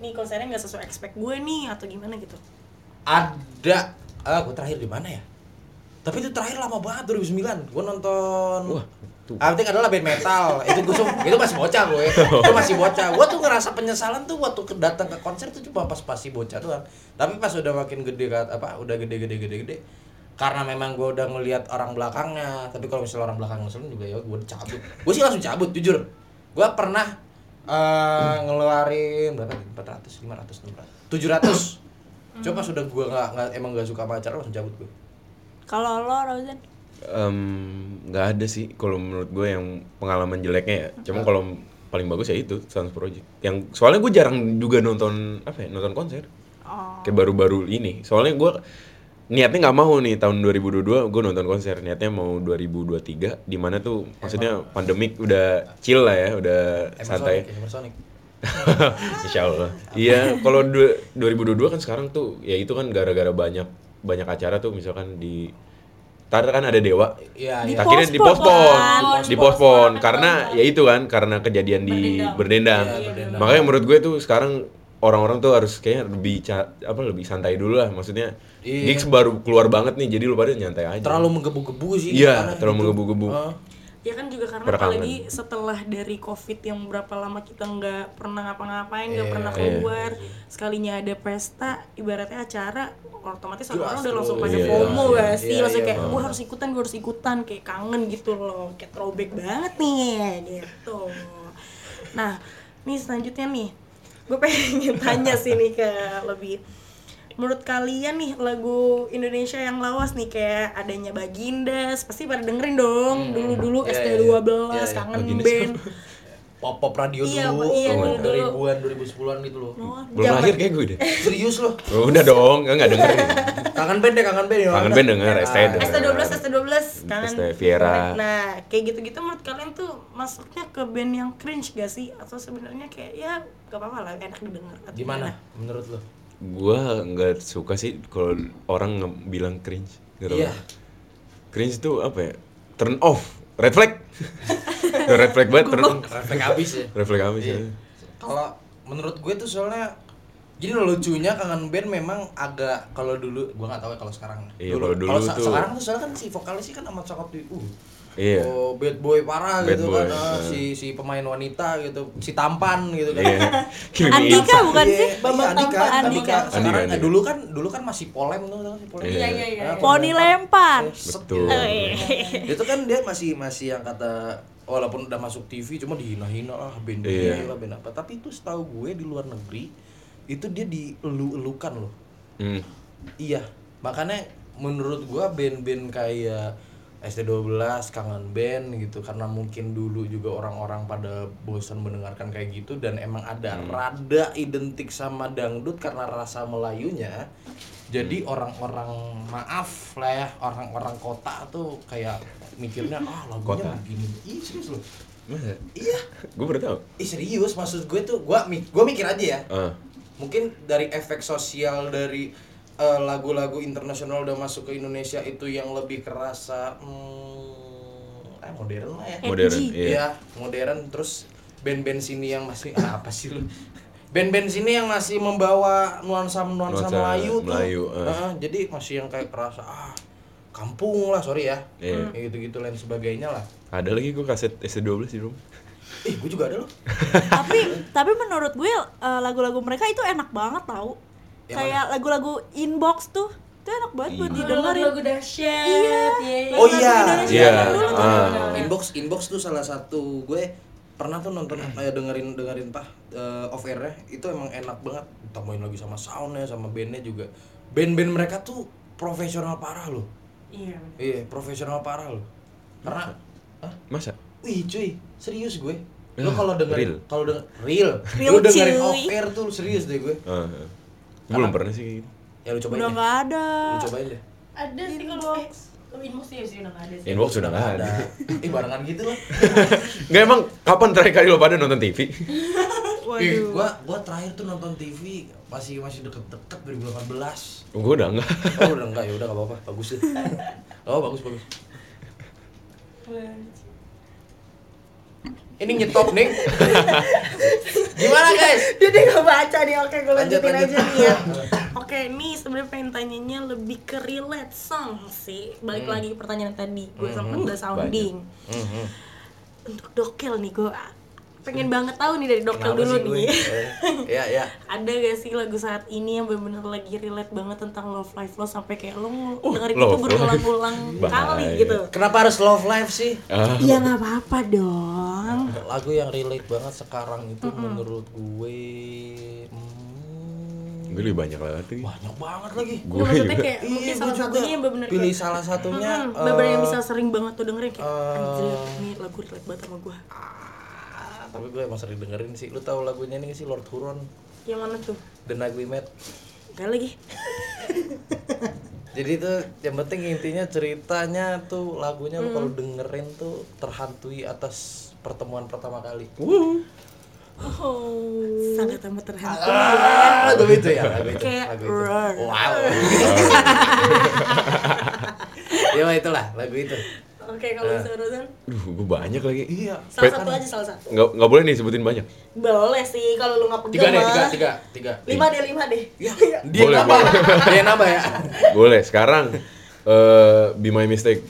nih konsernya nggak sesuai expect gue nih atau gimana gitu? Ada ah gue terakhir di mana ya? Tapi itu terakhir lama banget 2009. Gue nonton Wah, tuh. Ah, penting adalah band metal. Itu gue tuh- itu masih bocah gue. Itu masih bocah. Gue tuh ngerasa penyesalan tuh waktu ke- datang ke konser tuh cuma pas pasti bocah doang. Tapi pas udah makin gede kan, apa udah gede gede gede gede karena memang gue udah ngelihat orang belakangnya tapi kalau misalnya orang belakang ngeselin juga ya gue cabut gue sih langsung cabut jujur gue pernah eh, ngeluarin berapa tadi? 400 500 600 700 coba sudah gue nggak nggak- emang nggak suka sama acara langsung cabut gue Kalau lo Rosen, Em, nggak ada sih kalau menurut gue yang pengalaman jeleknya ya cuma kalau paling bagus ya itu Sounds Project yang soalnya gue jarang juga nonton apa ya nonton konser oh, kayak baru-baru ini soalnya gue niatnya nggak mau nih tahun 2022 gue nonton konser niatnya mau 2023 di mana tuh maksudnya pandemik udah chill lah ya udah santai Emersonic, Emersonic. Insya Allah. Iya, kalau du- 2022 kan sekarang tuh ya itu kan gara-gara banyak banyak acara tuh misalkan di Ntar kan ada Dewa. Iya, Di iya. Akhirnya Dipospon, dipospon, kan? dipospon Dipospon. karena ya itu kan karena kejadian di Berdendam. Berdendang. Iya, Berdendang. Makanya menurut gue tuh sekarang orang-orang tuh harus kayaknya lebih ca- apa lebih santai dulu lah maksudnya. Iya. Gigs baru keluar banget nih jadi lu pada nyantai aja. Terlalu menggebu-gebu sih. Iya, karena terlalu gitu. menggebu-gebu. Heeh. ya kan juga karena Berakangan. apalagi setelah dari covid yang berapa lama kita nggak pernah ngapa-ngapain nggak Iya. pernah keluar sekalinya ada pesta ibaratnya acara otomatis orang-orang udah Justru, langsung pada iya. FOMO gak Iya, sih langsung iya, kayak gue harus ikutan gue harus ikutan kayak kangen gitu loh kayak throwback banget nih gitu nah nih selanjutnya nih gue pengen tanya sih nih ke lebih menurut kalian nih lagu Indonesia yang lawas nih kayak adanya Baginda pasti pada dengerin dong Hmm. dulu-dulu Iya, SD iya, iya. 12 Iya, iya. kangen Baginda band Pop-pop radio Iya, dulu, Oh, iya, tahun dulu, dulu. 2000-an, 2010-an gitu loh. Loh, Belum Oh, zaman- lahir kayak gue deh. Serius loh. Oh, udah dong, enggak dengerin. Kangen band deh, kangen band ya. Kangen band denger, ST Ah, denger. ST12 ST12 kangen ST Viera. nah kayak gitu-gitu menurut kalian tuh masuknya ke band yang cringe gak sih atau sebenarnya kayak ya gak apa-apa lah enak didengar Atau Gimana menurut lo? Gua nggak suka sih kalau orang nge- bilang cringe. Nggak tahu. Iya. Cringe itu apa ya? Turn off, red flag. Itu red flag banget, turn off. Refleks abis ya. Red flag apa sih? Iya. Kalau menurut gue tuh soalnya gini loh lucunya kangen band memang agak kalau dulu gue nggak tahu ya kalau sekarang. Iya, kalau dulu se- tuh- sekarang tuh soalnya kan si vokalis sih kan amat cakep di uh. Iya. Oh, bad boy parah Bad gitu boy, kan ah, iya. si si pemain wanita gitu, si tampan gitu kan. Iya. Kill me Andika inside. bukan Iya, sih? iya, Bambang Andika, Tampan, Andika. Andika. Sekarang, Andika, eh, Andika. dulu kan dulu kan masih polem tuh, tau nggak sih polem. Iya, iya, iya. Ah, Poni lempar. Set Betul. Oh, gitu. itu kan dia masih masih yang kata walaupun udah masuk TV cuma dihina-hina lah band Iya. ini lah band apa tapi itu setahu gue di luar negeri itu dia dielu-elukan loh Hmm. iya makanya menurut gue band-band kayak ST12 kangen band gitu karena mungkin dulu juga orang-orang pada bosan mendengarkan kayak gitu dan emang ada rada identik sama dangdut karena rasa Melayunya jadi orang-orang maaf lah ya orang-orang kota tuh kayak mikirnya ah lagunya Kota. begini Ih, serius loh Masa? iya Gue baru tahu. Ih, serius maksud gue tuh gue gue mikir aja ya Ah. mungkin dari efek sosial dari eh, lagu-lagu internasional udah masuk ke Indonesia itu yang lebih kerasa hmm, eh, modern lah ya Modern, Iya, iya. modern terus band-band sini yang masih ah, apa sih lu band-band sini yang masih membawa nuansa nuansa, Nuansa Melayu, Melayu, tuh eh. Heeh, jadi masih yang kayak kerasa ah kampung lah sorry ya Iya. gitu gitu lain sebagainya lah Ada lagi gue kaset SD12 di rumah. ih gue juga ada loh tapi tapi menurut gue eh, lagu-lagu mereka itu enak banget tau Yang kayak lagu-lagu inbox tuh itu enak banget buat Iya. didengerin Lagu dahsyat. Iya. iya, iya. Oh iya. Iya. Ah. Nah. Inbox inbox tuh salah satu gue pernah tuh nonton Hmm. kayak dengerin dengerin pah eh, off air itu emang enak banget tambahin lagi sama soundnya sama bandnya juga band-band mereka tuh profesional parah loh iya iya profesional parah loh Iya. karena Hah? Masa? wih cuy serius gue lo Ah, kalau dengerin real. kalau denger real, Real, lo dengerin cuy. off air tuh serius deh gue Ah. ah. Gua Belum pernah sih kayak gitu. ya lu cobain udah deh nggak ada lu cobain deh ada sih kalau eh, kalau inbox sih sih udah nggak ada sih Inbox sudah nggak ada. eh barengan gitu lah Nggak emang kapan terakhir kali lo pada nonton TV? Ih, waduh gua gua terakhir tuh nonton TV masih masih deket-deket 2018. gue udah enggak. Oh udah enggak ya udah enggak apa-apa. Bagus deh. Oh bagus bagus. Ini nyetop nih. Gimana guys? dia dia nggak baca dia oke gue Lanjut, lanjutin lanjut. aja nih ya oke ini sebenarnya pengen tanyanya lebih ke relate song sih balik Hmm. lagi ke pertanyaan tadi gue sempet udah sounding Mhm. untuk dokel nih gue pengen banget tahu nih dari dokel Kenapa dulu sih gue? nih Eh, Ya ya. ada gak sih lagu saat ini yang bener-bener lagi relate banget tentang love life lo sampai kayak lo ngel- Oh, dengerin itu love berulang-ulang life. kali Bahaya. gitu Kenapa harus love life sih? Ah. ya nggak apa-apa dong Lagu yang relate banget sekarang itu menurut gue hmm, Gue lebih banyak lewat tuh. banyak banget lagi. Nah, Gue maksudnya juga. kayak mungkin Iya, gue salah juga satunya yang bener-bener pilih kayak- salah satunya Hmm, beberapa yang eh, bisa sering banget tuh dengerin kayak eh, anjir ini lagu relate banget sama gue Ah, tapi gue emang sering dengerin sih lu tahu lagunya nih sih Lord Huron yang mana tuh The Night We Met gak lagi jadi itu yang penting intinya ceritanya tuh lagunya lu kalau dengerin tuh terhantui atas pertemuan pertama kali sangat amat terhantu Oh. ah itu itu ya lagu itu Kayak lagu itu roar. wow ya mah itulah lagu itu Oke, kalau Eh. disuruh Rozan, Duh, gue banyak lagi. Iya. salah satu aja salah satu. Nggak, nggak boleh nih sebutin banyak. Boleh sih kalau lu nggak tiga pegang deh tiga mah. tiga tiga Lima deh, lima deh. Ya. Iya, dia Boleh, nambah dia nambah ya Boleh. Sekarang eh Be My Mistake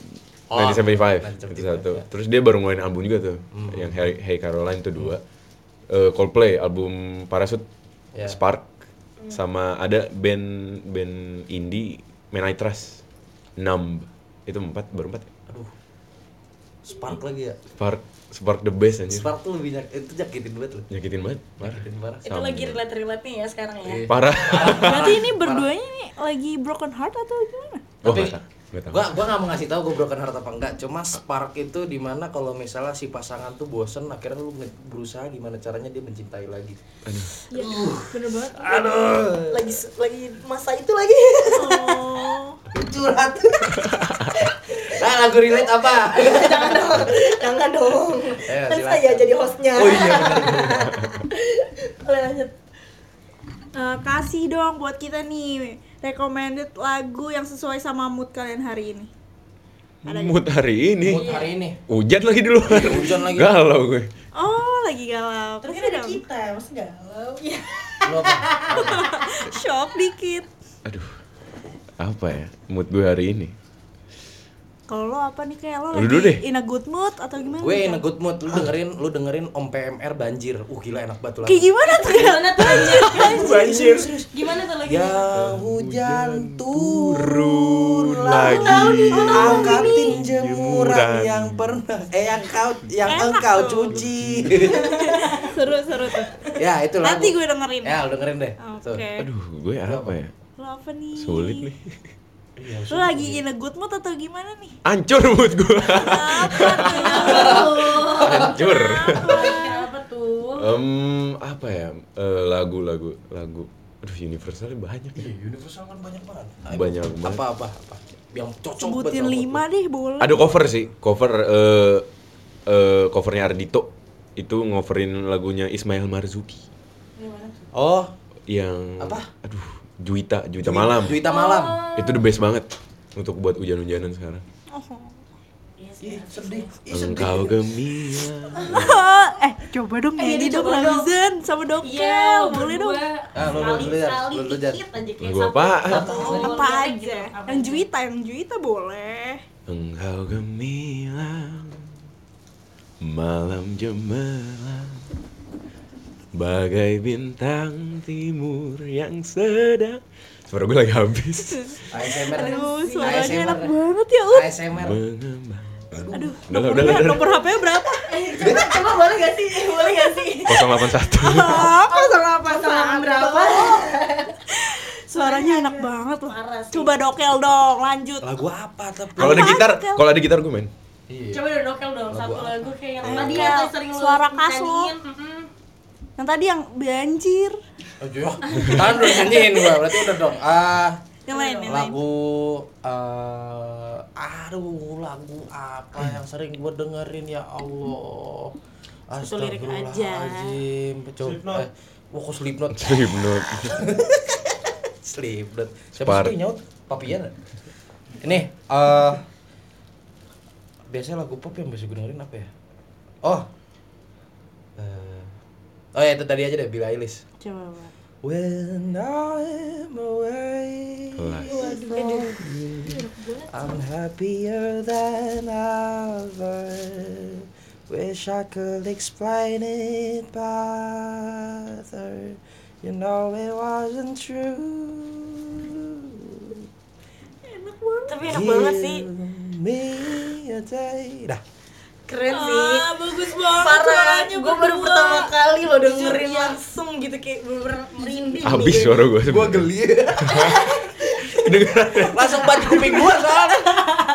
Oh, 1975 itu 1975, satu. ya. Hmm. Terus dia baru ngeluarin album juga tuh, yang Hey, Hey Caroline itu dua. Eh, Coldplay album Parachute, Ya. Spark, sama ada band band indie Man I Trust, Numb itu empat baru empat. aduh spark lagi ya Spark Spark the best anjir. spark tuh lebih nyak itu nyakitin banget loh Nyakitin banget. Parah. nyakitin Iya. parah Itu Sama. lagi relate-relate nih ya sekarang ya. Iya. Parah. Berarti ini berduanya ini lagi broken heart atau gimana? Wah, tapi Oh, nggak tahu, nggak tahu. gua gua nggak mau ngasih tahu gua broken heart apa enggak cuma spark itu dimana kalau misalnya si pasangan tuh bosen akhirnya lu nge- berusaha gimana caranya dia mencintai lagi Iya, Uh. bener banget. aduh Lagi lagi masa itu lagi. Oh, curhat nah lagu relate apa Jangan dong. Jangan dong. Ayo, Kan silakan. saya jadi hostnya. oh iya bener. Boleh lanjut. Eh, kasih dong buat kita nih recommended lagu yang sesuai sama mood kalian hari ini. Mood hari ini. mood hari ini Hujan lagi di luar. Hujan lagi. Galau gue. Oh, lagi galau. Terus Kasih ada dong. kita, Iya. masa galau. lu apa Shock dikit. Aduh. Apa ya? Mood gue hari ini. Kalau lo apa nih kayak lo Lu lagi dulu deh. in a good mood atau gimana? gue nih, in a Kak? good mood lu dengerin lu dengerin om PMR banjir uh gila enak banget tuh lagu. Kayak gitu. gimana tuh? Kak? Gimana tuh lanjut? banjir Gimana tuh lagi? yang hujan turun turun lagi. lagi Tahu nih, angkatin Jemuran. jemuran yang pernah eh yang kau yang Enak engkau tuh. cuci seru seru tuh. ya itu lagu Nanti gue dengerin. ya lu dengerin deh Oke. Tuh. Aduh, gue apa ya? Lo apa nih? Sulit nih. Iya, Lo lagi in a good mood atau gimana nih? Ancur mood gue. Apa tuh? Ancur. Kenapa tuh? Em, apa ya? Eh, lagu lagu lagu. Aduh, universalnya banyak. ya. universal kan banyak banget Banyak banget. apa apa apa yang cocok buat Sebutin rambut lima deh boleh. Ada cover sih, cover eh eh, covernya Ardito itu ngoverin lagunya Ismail Marzuki lu. oh yang Apa? Aduh, Juwita, Juwita Malam. Juwita malam Itu the best banget untuk buat hujan-hujanan sekarang. Oh. Ih, sedih Ih, sedih Engkau gemilang. eh coba dong Eh, nyanyi jadi dong coba dong. Iya, Ramzan sama Dokel boleh dong Ah, lu- lu- lu- Sekali, lu- lu- lu- lu- sekali, dikit aja kayak Lagu satu- apaan? satu- Oh, satu- apa satu- aja apa yang aja. juita yang juita boleh Engkau gemilang. Malam cemerlang. Bagai bintang timur yang sedang. Suara gue lagi habis. ASMR aduh Iya, Aduh, suaranya ASMR enak banget ya Ut ASMR Mengembang. aduh Udah lah, nomor, udah lah, udah lah. nomor HP-nya berapa Coba, coba boleh gak sih? Boleh gak sih? 081. apa salah apa Pasangan berapa? suaranya enak banget loh Parah sih. coba Dokel dong lanjut lagu apa tapi Kalau ada Apaan, gitar, Kel? kalau ada gitar gue main. Iya. Coba dong nokel dong Lagu satu apa? lagu kayak yang Ayo, tadi Kel. yang sering lu Iya. Suara khas lu. nyanyiin, mm-mm. yang tadi yang banjir Aduh, kan udah nyanyiin gua, berarti udah dong. Ah, yang lain yang lain lagu eh aduh, lagu apa yang sering gua dengerin ya Allah. Satu lirik aja. Astagfirullahaladzim. Coba eh, Wah, kok Slipknot? Slipknot. Slipknot. Siapa Spark. sih yang nyaut? Papian. Ini eh biasanya lagu pop yang biasa gue dengerin apa ya? Oh. Eh, oh ya itu tadi aja deh Billie Eilish. coba Bang. When I'm away Kelas. from you, I'm happier than ever Wish I could explain it better You know it wasn't true Tapi enak banget sih Give me a day Dah Keren sih ah bagus banget Parah suaranya Gue baru berdua. pertama kali lo dengerin Jujur, ya. langsung gitu Kayak bener-bener merinding Habis suara gue. geli Langsung bantu kuping gua soalnya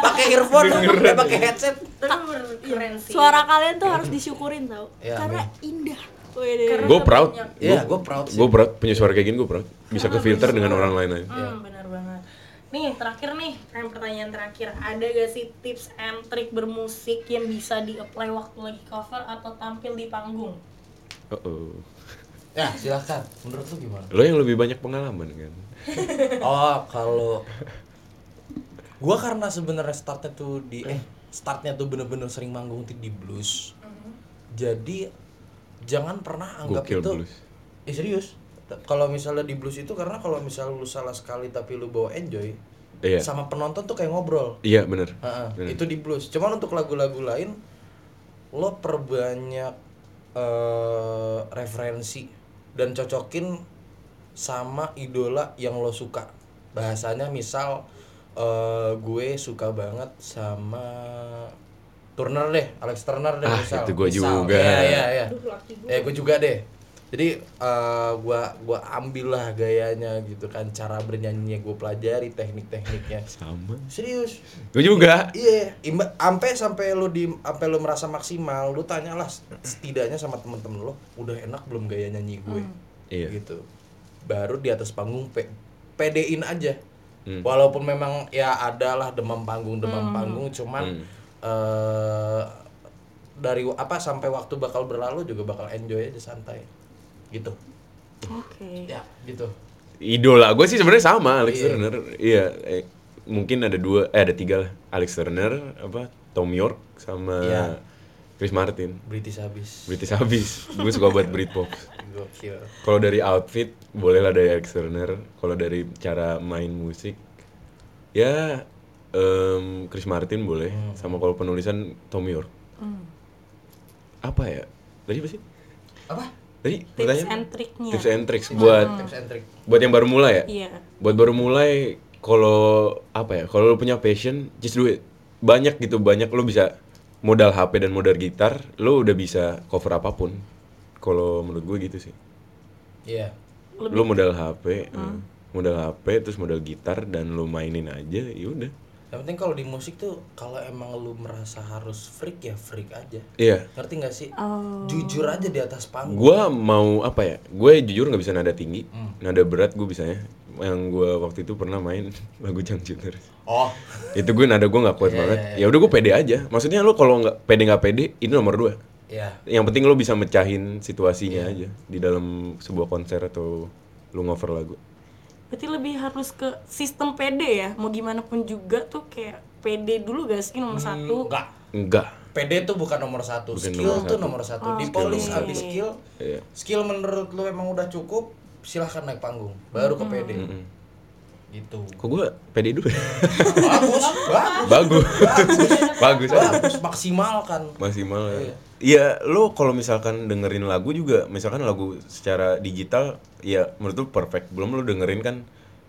pakai earphone, eh, pakai headset Tapi bener-bener keren sih Iya. suara kalian tuh harus disyukurin tau Iya, karena indah Wede. Karena Gue proud. banyak- Iya, gue proud sih Gue proud punya suara kayak gini gue proud. Bisa ke filter dengan orang lain lain. Hmm, benar banget. Nih, terakhir nih, yang pertanyaan terakhir. Ada gak sih tips and trick bermusik yang bisa di-apply waktu lagi cover atau tampil di panggung? Oh, oh. Ya, silakan. Menurut lu gimana? Lo yang lebih banyak pengalaman kan. Oh, kalau Oh, Gua karena sebenarnya startnya tuh di eh startnya tuh bener-bener sering manggung tuh di blues. Jadi jangan pernah anggap Gokil itu blues. Eh serius. T- Kalau misalnya di blues itu karena kalau misalnya lu salah sekali tapi lu bawa enjoy Iya. sama penonton tuh kayak ngobrol. Iya bener. Heeh, Bener. itu di blues. Cuman untuk lagu-lagu lain lo perbanyak eh, referensi dan cocokin sama idola yang lo suka. Bahasanya misal eh, gue suka banget sama Turner deh, Alex Turner deh Ah, misal. itu gue Misal. juga. Iya, iya, iya. Aduh, laki gue. Eh gue juga deh. Jadi eh, gua gua ambil lah gayanya gitu kan cara bernyanyinya gue pelajari teknik-tekniknya. Sama. Serius. Gue juga. Iya, imba- ampe sampai lu di ampe lu merasa maksimal, lu tanyalah setidaknya sama temen-temen lu, udah enak belum gaya nyanyi gue? Iya. Gitu. Baru di atas panggung pe pedein aja. Hmm. Walaupun memang ya adalah demam panggung, demam panggung cuman Hmm. eh, dari wa- apa sampai waktu bakal berlalu juga bakal enjoy aja santai. Gitu. Oke. Ya, gitu. Idola gue sih sebenarnya sama Alex Iya. Turner. Iya. eh, mungkin ada dua, eh ada tiga lah. Alex Turner, apa Tom York sama Iya. Chris Martin. British habis. British habis. gue suka buat Britpop. Gokil. Kalau dari outfit, bolehlah dari Alex Turner. Kalau dari cara main musik, ya em, Chris Martin boleh. Hmm. Sama kalau penulisan Tom York. Hmm. Apa ya? Tadi apa sih? Apa? Tadi tips pertanyaan? and Hmm. triknya Tips and tricks buat tips and trick. buat yang baru mulai ya. iya Buat baru mulai, kalau apa ya? Kalau lo punya passion, just do it. Banyak gitu, banyak lo bisa modal HP dan modal gitar, lo udah bisa cover apapun. Kalau menurut gue gitu sih. Iya. lu modal HP eh, modal HP terus modal gitar dan lu mainin aja ya udah Yang penting kalau di musik tuh kalau emang lu merasa harus freak ya freak aja. iya Ngerti nggak sih? Jujur aja di atas panggung. gua mau apa ya gue jujur nggak bisa nada tinggi nada berat gue bisa ya yang gua waktu itu pernah main lagu Jangcuter Oh, itu gue nada gue nggak kuat banget ya udah gue pede aja maksudnya lu kalau nggak pede nggak pede ini nomor dua ya. yang penting lu bisa mecahin situasinya aja di dalam sebuah konser atau lu ngover lagu berarti lebih harus ke sistem PD ya mau gimana pun juga tuh kayak PD dulu gak sih nomor satu Enggak. enggak PD tuh bukan nomor satu, Bukan skill nomor tuh satu. nomor satu. di polis abis skill, Iya. skill menurut lu emang udah cukup, silahkan naik panggung, baru ke PD. Gitu. kok gue pede dulu Bagus, bagus, bagus bagus bagus, maksimalkan. maksimal ya. Iya, lo kalau misalkan dengerin lagu juga, misalkan lagu secara digital, ya menurut lo perfect. Belum lo dengerin kan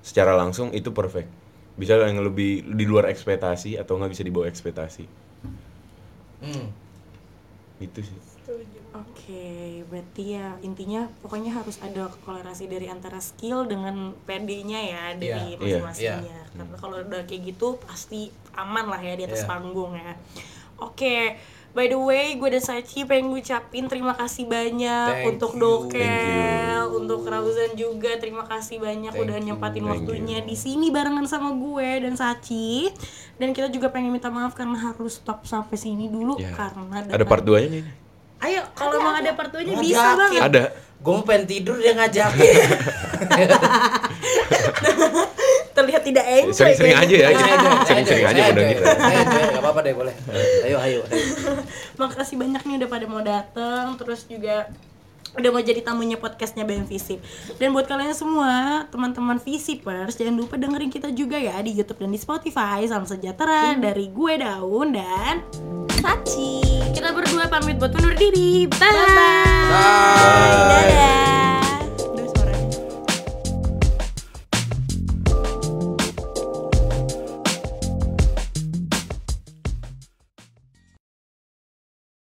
secara langsung itu perfect. Bisa yang lebih di luar ekspektasi atau nggak bisa dibawa ekspektasi. Hmm. Gitu sih. Oke, berarti ya intinya pokoknya harus ada kolerasi dari antara skill dengan PD-nya ya dari Iya, Hmm. masing-masingnya. Karena kalau udah kayak gitu pasti aman lah ya di atas Iya. panggung ya. Oke, by the way, gue dan Sachi pengen ngucapin terima kasih banyak Thank untuk you. Dokel, untuk Rauzan juga terima kasih banyak Thank udah nyempatin you. Thank waktunya di sini barengan sama gue dan Sachi. Dan kita juga pengen minta maaf karena harus stop sampai sini dulu Ya. karena Ada part 2-nya nih. Ayo kalau emang ada part 2-nya Ngajakin. bisa banget. Ada. Gue mau pengen tidur dia ngajakin. terlihat tidak enjoy Sering-sering kayaknya. aja ya. Saya aja, saya Sering-sering aja saya udah aja. kita. Saya aja, nggak apa-apa deh boleh. Ayo, ayo. ayo. makasih banyak nih udah pada mau dateng terus juga udah mau jadi tamunya podcastnya BM Visip dan buat kalian semua teman-teman Visipers jangan lupa dengerin kita juga ya di YouTube dan di Spotify salam sejahtera dari gue Daun dan Sachi kita berdua pamit buat undur diri bye, -bye. Bye. dadah